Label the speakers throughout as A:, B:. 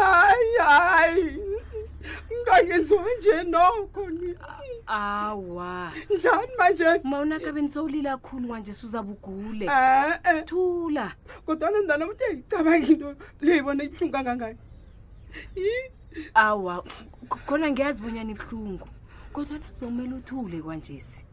A: hayi hayi ngingayenziwa nje nokho ni-
B: awa
A: njani manje
B: ma unakabeni sowulile kakhulu kanje suzabe ugule
A: Ah. e-e
B: thula
A: kodwana mntana ukuthi ayicabanga into leyibona ibuhlungu kangangani Yi,
B: awa k- khona ngiyazi bonyana ibuhlungu kodwa nakuzomele uthule kwanjesi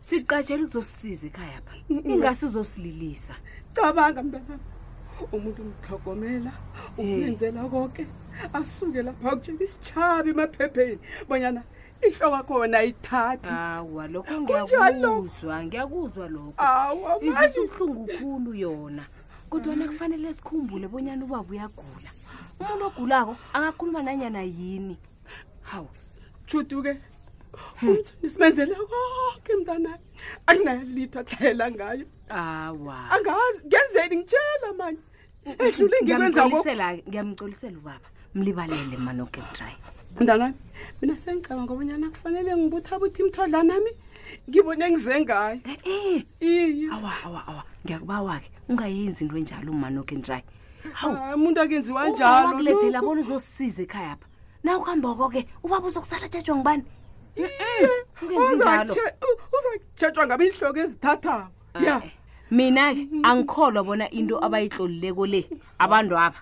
B: siqatshela ukuzosisiza ekhaya pha ingase uzosililisa
A: cabanga mntanam umuntu umtlhogomela umenzela konke asuke lapha kutshela isitshabi emaphepheni bonyana ihloko khona ayithathi
B: awa lokho
A: Kunjani lokho?
B: ngiyakuzwa ngiyakuzwa
A: Ah,
B: lokho
A: awa
B: izisa ubuhlungu khulu yona kodwana kufanele sikhumbule bonyana ubaba uyagula umuntu ogulako angakhuluma nanyana yini hawu
A: judu-ke umthoni simenzele konke mntanami akunalitha hlayela ngayo
B: awa
A: angazi ngenzeni ngitshela mani edlule ngikwenza ko-
B: Ngiyamxolisela- ngiyamxolisela ubaba mlibalele manoketry
A: mntanami mina sengicabanga obonyana kufanele ngibuthabuthi imthodlanami ngibone ngize ngayo
B: ee
A: iye
B: awa awa awa ngiyakubawa-ke ungayenzi into enjalo umanoketry hawu
A: Hayi, umuntu akenziwa njalo
B: njalolethela
A: lokhu.
B: bona uzosisiza ekhaya pha na ukuhamboko-ke ubaba uzokusala tshetshwa ngubani
A: Iye,
B: ungenzi njalo.
A: uzakutshe- u- uzakutshetshwa ngaba ihloko ezithathako ya
B: Eh, mina-ke angikholwa bona into abayitlolileko le abantu aba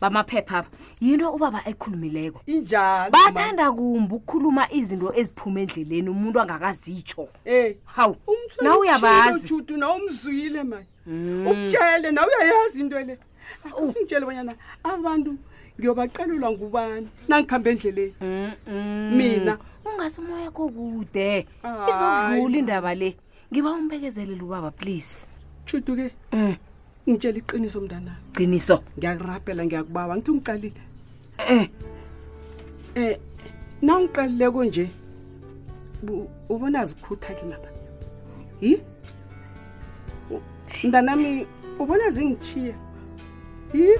B: bamaphepha apha yinto ubaba ekhulumileko
A: injalo
B: bathanda kumbi ukukhuluma izinto eziphuma endleleni umuntu angakazitsho
A: ey
B: hawu nawe uyabazi
A: judu nawe umzwile mani Mm. ukutshele nawe uyayazi into le usingitshele bonyana abantu ngiyobaqalelwa ngubani nangikhambe endleleni Mina.
B: mina ungase umoya kokude
A: Hayi.
B: izokudlula indaba le ngiba umbekezelele ubaba please
A: judu-ke
B: um
A: ngitshela iqiniso mntanami
B: qiniso
A: ngiyakurabhela ngiyakubawa ngithi ungicalile Eh.
B: um
A: um nangiqalileko nje bu- ubona zikhutha-ke maba yi U- mntanami ubona zingitshiya yi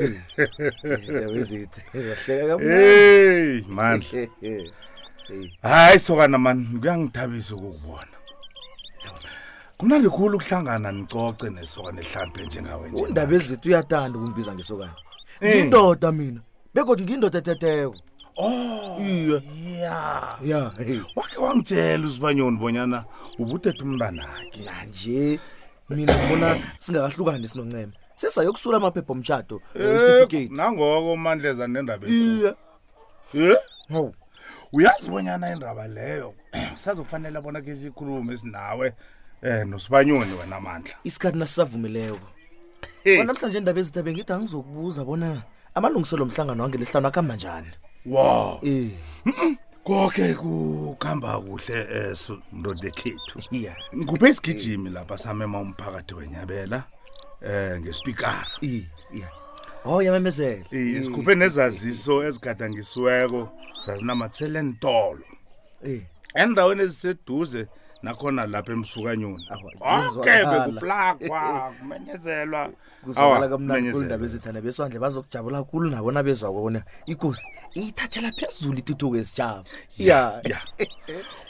C: Indaba ezithe zahleka kamnandi.
D: hey mandla
C: Eh.
D: hayi sokana mani kuyangithabisa ukukubona kumnandi khulu ukuhlangana nicoce nesokana ehlampe njengawe nje
C: Undaba ezithe uyathanda ukungibiza ngesokana.
D: Eh.
C: Indoda mina. Begodi ngindoda tetheteko.
D: oh
C: Iye.
D: ya
C: Ya.
D: wakhe wangitshela usibanyoni bonyana ubuthetha umntanakhe
C: Manje mina ngibona singakahlukani sinoncema. Sesayokusula amaphepha omshado
D: Eh,
C: certificate.
D: nangoko umandleza nendaba ekulu.
C: Iye.
D: Eh,
C: Hawu.
D: uyazibonyana indaba leyo sazofanele bona ke sikhulume sinawe um nosibanyoni wena mandla
C: Isikhathi nasisavumileko.
D: Eh.
C: Hey. Namhlanje indaba ezithe bengithi angizokubuza bona amalungiselo omhlangano wangelesihlanu akhamba njani.
D: wow
C: Eh.
D: konke kukuhamba kuhle um ndodekhethu
C: Iya.
D: ngikuphe isigijimi lapha samema umphakathi wenyabela um ngespikara
C: Eh. Iya. Oh yamemezela.
D: Eh, sikhuphe nezaziso ezigadangisiweko zazinamathelenitolo
C: Eh.
D: endaweni eziseduze nakhona lapha emsukanyoni
C: Awa,
D: konke
C: izwakala.
D: bekuplagwa kumenyezelwa
C: kuzwakala
D: Awa,
C: kamnandi
D: kumenyezelwa.
C: kulindaba ezithanda beswandle bazokujabula khulu nabo nabezwako bona ikosi iyithathela phezulu ituthuko esitshaba ya
D: ya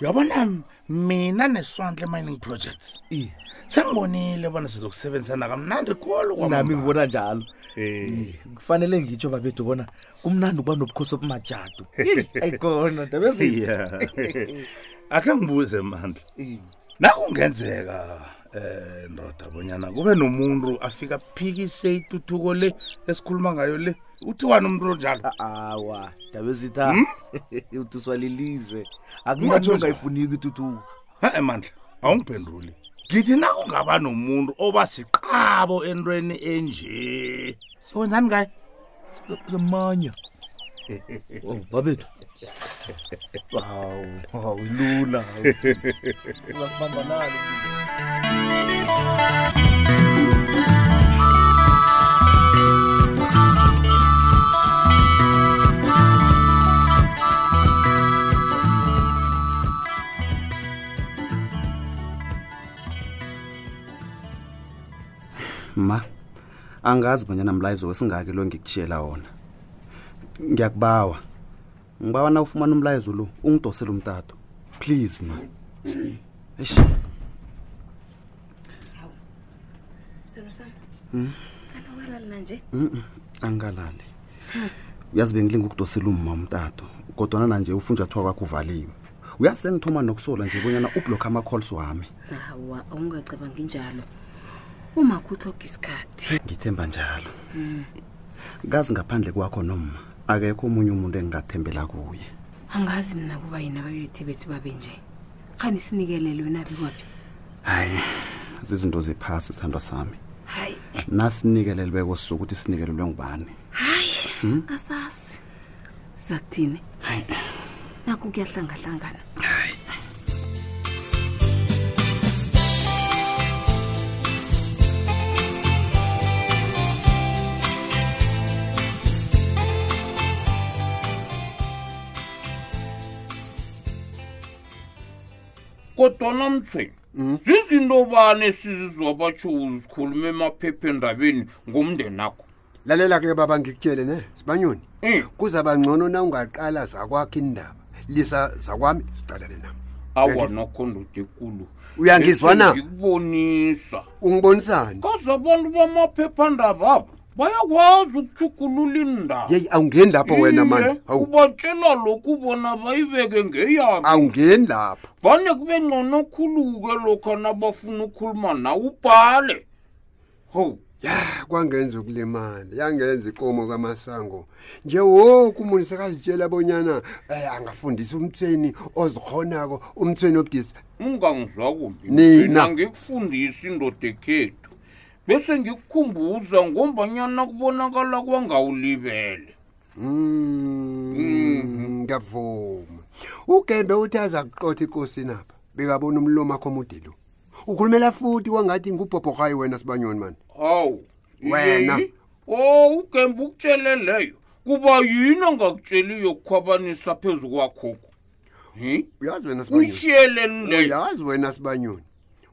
D: uyabona mina neswandle mining projects
C: Iye.
D: sengibonile bona sizokusebenzisana kamnandi khulu
C: nami
D: kwamambala.
C: ngibona njalo
D: Eh.
C: Eh, kufanele ngitsho babethu bona kumnandi ukuba nobukhosi obumajadu ayikona ndaba ezinhle
D: ya akhe ngibuze mandla nakungenzeka eh ndoda bonyana kube nomuntu afika phikise ituthuko le esikhuluma ngayo le uthiwani umuntu onjalo
C: A- awa ndaba ezitha
D: Hmm?
C: utuswa lilize akunathi
D: Ungathi
C: ongayifuniki ituthuko
D: e-e mandla awungiphenduli ngithi nakungaba nomuntu oba siqabo entweni enje siwenzani ngayo
C: zamanya oh babethu awu awu lula ungakubambanalo
E: ma angazi bonyana mlayizo wesingaki lo ngikutshiyela wona ngiyakubawa ngibawa na ufumana umlayezo lo ungidosele umtato please ma Eish,
B: sithando sam anawelali nanje
E: mm-mm, angikalali uyazi bengilinga ukudosela umma umtato kodwana nanje ufunjathwa kwakho uvaliwe uyazi sengithoma nokusola nje bonyana ublokha ama-calls wami
B: hawa awungacabangi njalo umakhutloga isikhathi
E: ngithemba njalo kazi ngaphandle kwakho nomma akekho omunye umuntu engingathembela kuye
B: angazi mna kuba yini ababethi bethu babe nje khani sinikelelwe nabi kwaphi
E: hayi zizinto zephasi sithandwa sami
B: hayi
E: nasinikelelweko sokuthi sinikelelwe ngubani
B: hayi asazi siza kuthini nakho kuyahlangahlangana
F: kodwana mthweni zizinto bani esizizwa batsho uzikhulume emaphephendabeni ngomndenakho
G: lalela-ke baba ngikutshele ne sibanyoni
F: Mm.
G: kuzaba ngcono na ungaqala zakwakho indaba lisa zakwami sicalane nami
F: awa
G: Uyangi-
F: nakho ndoda ekulu
G: Uyangizwa na?
F: ngikubonisa
G: ungibonisani
F: kaze abantu bamaphephandaba aba bayakwazi ukujukulula indaba
G: yeyi awungeni lapho wena mani
F: Iye,
G: hawu
F: ubatshela lokhu bona bayibeke ngeyabo
G: awungeni lapho
F: vane kube ngcono khulu-ke lokho nabafuna ukukhuluma nawe ubhale howu
G: ya kwangenza ukulimala yangenza ikomo kwamasango nje woku umuntu sekazitshela bonyana um angafundisa umthweni ozikhonako umthweni obudisa
F: ungangizwa kumbi
G: Nina.
F: Mina ngikufundisa indoda ekhethu bese ngikukhumbuza ngombanyana kubonakala kwangawulibele
G: Mm, ngiyavuma ugembe uthi aza kuqotha ekosini apha bekabona umlomo akho omude lo ukhulumela futhi kwangathi ngubhobhohayi wena sibanyoni mani
F: hawu
G: Wena.
F: yini? o ugembe ukutshele leyo kuba yini angakutsheli yokukhwabanisa phezu kwakhoko hi
G: uyazi wena sibanyoni
F: uyitshiyeleni leyo
G: uyazi wena sibanyoni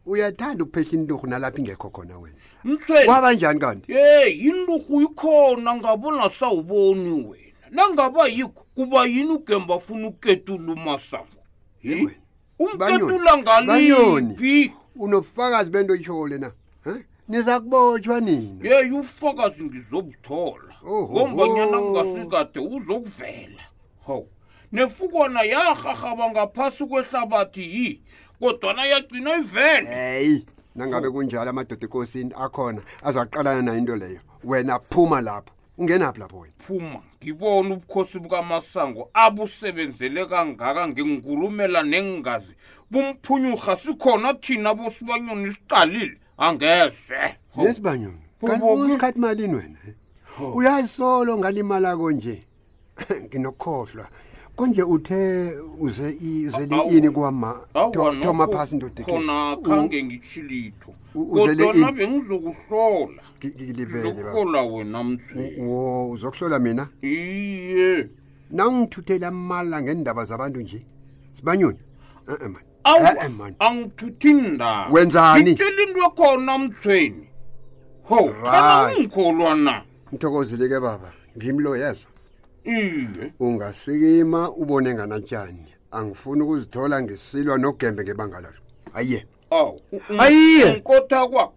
G: uyathanda ukuphehla intorhu nalapho ingekho khona wena
F: mthweni
G: kwaba njani kanti
F: ye yinduku ikhona ngabona sawuboni wena nangaba yikho kuba yini ugembe afuna uketula umasango
G: Yini wena?
F: umketula
G: Banyoni.
F: ngaliphi
G: unobufakazi bento yisho le na Eh? niza kubotshwa nina
F: yeyo ubufakazi ngizobuthola
G: Oho.
F: ngombanyana kungasikade uzokuvela hawu nefukwana yarharhaba ngaphasi kwehlabathi yi kodwana yagcina ivele
G: eyi nangabe kunjalo amadoda ekosini akhona azaqalana nayo into leyo wena phuma lapho ungenaphi lapho wena
F: phuma ngibona ubukhosi bukamasango abusebenzele kangaka ngingulumela nengingazi bumphunyurha sikhona thina bosibanyoni siqalile angeze Hawu.
G: yesibanyoni
F: Bo-
G: kanti
F: bo-
G: usikhathi malini wena eh? uyasolo ngalimala konje nginokhohlwa konje uthe uze i- uzele
F: Awu.
G: ini kwama
F: Awa,
G: Tho-
F: nokho,
G: thoma phasi ndodekeni
F: khona khange ngitshilitho
G: U- uzele
F: kodwana
G: ini?
F: bengizokuhlola
G: ngilibele baba.
F: ngizokuhlola wena mthweni
G: wo uzokuhlola mina
F: iye
G: nawungithuthela mala ngendaba zabantu nje sibanyoni e-e mani Eh, eh, man.
F: awu angithuthi ndaba
G: Wenzani?
F: ngitshela into ekhona mthweni ho khona
G: Right.
F: ungikholwa na
G: Mthokozile ke baba. Ngimlo yezwa.
F: iye
G: Ungasikima ubone nganatyani. Angifuni ukuzithola ngisilwa nogembe ngebanga lalo. Hayiye.
F: awu
G: Ayiye.
F: ngikotha kwakho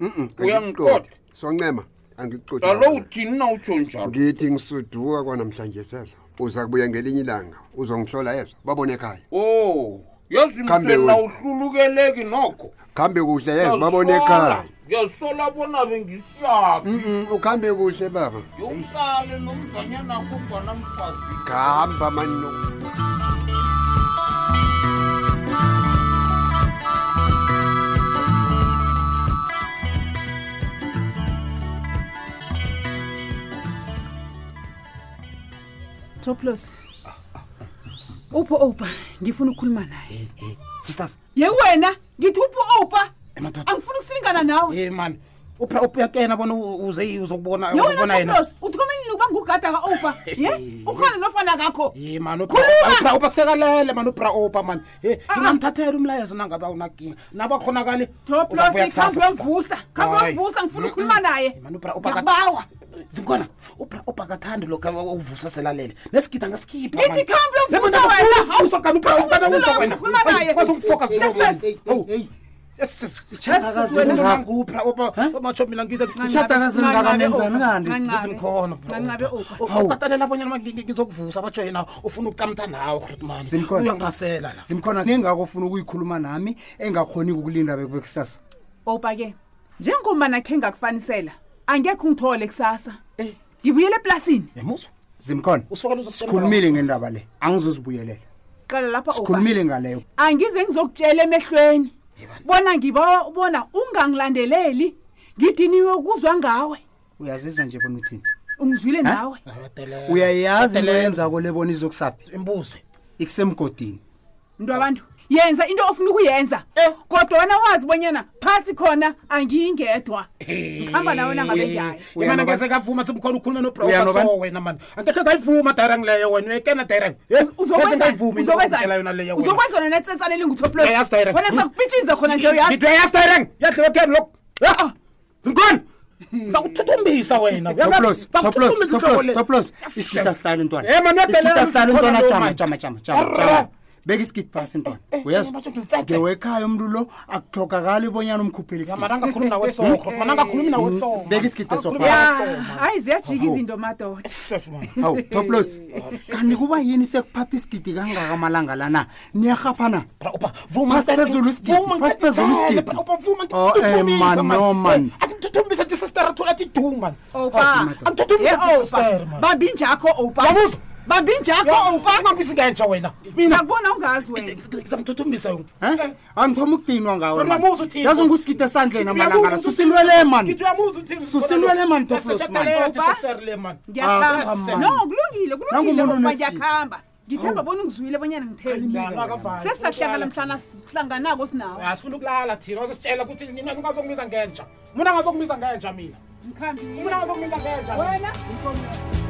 G: Mhm.
F: Uyangiqotha.
G: angikuqothi. Soncema angikuqothi.
F: alo
G: kakhulu.
F: uthini na utsho njalo
G: Ngithi ngisuduka kwanamhlanje seza. Uza kubuya ngelinye ilanga. Uzongihlola yezwa. Babone ekhaya.
F: o yazi
G: Kambe
F: mthweni
G: wena. Eh,
F: awuhlulukeleki nokho
G: Khambe kuhle yezwa babone
F: Ngiyasola.
G: ekhaya.
F: ngiyasola bona bengisiyabi
G: Mhm. Ukhambe kuhle baba.
F: yowusale nomzanyana kungwana mfazi
G: Khamba mani.
H: toplos upho opa ndifuna ukukhuluma naye
I: sisters
H: ye wena ngithi upho opa
I: emadoda
H: angifuni ukusilingana nawe
I: ye mani upuyakena bona u- uze uzokubona
H: ye
I: uzokubona
H: wena
I: yena
H: toplos uthome nini ukuba ngugada ka-opa ye ukhona nofana kakho
I: ye mani
H: Khuluma! Ah,
I: ubra sekalele mani ubra opa mani ye ngingamthathela umlayezo nangabe awunakinga nabo akhonakale
H: toplos khambi wevusa khambi wevusa ngifuna ukukhuluma naye
I: ubawa zinkona ubra opa kathandi lokho uvusa selalele nesigida ngasikipha
H: Ngithi
I: mani.
H: khambi uyovusa
I: Yebo, nabo
H: wena.
I: uvusa kani ubra opa
H: Uvusa
I: uvusa
H: lo,
I: wena
H: ukhuluma naye.
I: kwasomfoka
H: Jesus. Jesus, wena.
I: ngupra omatsho mina
H: Kancane,
I: ngizangakaenzani
H: Opa.
I: kanti
H: Kancane.
I: zimkhona
H: Kancane, Opa.
I: ukatalela abanyana ngizokuvusa abatsho yena ufuna ukukamta nawe hrutman
J: Simkhona.
I: uyangirasela la
J: zimkhona nengako ofuna ukuyikhuluma nami engakhoni ukulinda bekube kusasa
H: opa ke njengoba nakhe ngakufanisela angekho ungithole kusasa ngibuyele eplasini
I: yamuzwa
J: zimkhona
I: usokela uzosela
J: sikhulumile
I: abantu.
J: ngendaba le angizuzibuyelela
H: qala lapha Opa.
J: sikhulumile ngaleyo
H: angize ngizokutshela emehlweni bona ngibawa ubona ungangilandeleli ngidiniwe ukuzwa ngawe
J: uyazizwa nje bona uthini
H: ungizwile nawe
I: Ngiyabatelela.
J: uyayazi into
I: Ngiyabatelela.
J: yenzako le bona izokusaphi
I: imbuze
J: ikusemgodini
H: mntu abantu yenza into ofuna ukuyenza kodwa wena wazi bonyana phasi khona angiyingedwa ngihamba nawe nangabe
J: Ah,
H: ngiyayo
F: Eh,
I: mana
J: Uyanoba-
I: ngezekavuma simkhona ukhulume
J: Uyanoba-
I: nobrso wena mani angekhe ngayivuma dirang leyo wena
F: eh,
I: uyekena dirang
H: uzokwenza nona tsetsana elingutoplos
I: Uyayazi direct.
H: wena ngizakupitshiza khona nje uyazi
I: ngidweyas dirang yadliwekeni lokhu
F: Ah,
I: zinkona zakuthutumbisa wena
J: Toplos, Toplos, Toplos, Toplos. Isikita style ntwana.
I: Eh, man, uyabhela-
J: Isikita style
I: ukhona
J: ntwana
I: lo,
J: jama
I: man.
J: jama jama jama.
I: Arra.
J: jama. Beka isikiti phasi ntwana. Uyazi?
I: eh, batsho ngizithathe.
J: Ngewekhaya umntu lo akuhlogakali bonyana umkhuphele isikiti.
I: manangakhulumi nawe sokho manangakhulumi nawe sokho
J: Beka isikiti eso
H: Ah, hayi ziyajika izinto madoda
J: Hawu, Toplos.
I: Eh.
J: Kani Ah, kuba yini sekuphapha isikiti kangaka amalanga lana? Niyahaphana. Phasi phezulu isikiti, phasi phezulu isikiti. Oh, eh, man, no, man.
I: akimthutumbisa tisisterathula tiduma
H: opa
I: akuthutumbisa
H: ye
I: tisistere
H: opa
I: man
H: babinjakho opa
I: Yabuzwa?
H: babinjakho opa
I: ngambisi ngentsha wena mina
H: ngakubona ungazi wena
I: ngizamthutumbisa yona
J: Eh? Angithoma ukudinwa ngawe. man.
I: Uyamuza uthini?
J: Yazi ngusikiti esandleni amalanga la. Susilwele man.
I: ngithi uyamuza uthini
J: Susilwele man, Toplos man.
I: Sesiyadalela
H: Opa.
I: tisistere le man
J: Ah,
H: ngiyakhamba
J: man.
H: no kulungile kulungile
J: Nangumuntu
H: opa
J: onesifo.
H: ngiyakhamba ngithemba bona ungizwile bonyana ngitheni
I: Akavali.
H: sesizakuhlangana mhlana sihlanganako sinawo
I: asifuna ukulala thina wazositshela ukuthi mina ungazokumisa ngentsha mina ngazokumisa ngentsha mina
H: ngikhambile
I: mina ngazokumisa ngentsha mina.
H: wena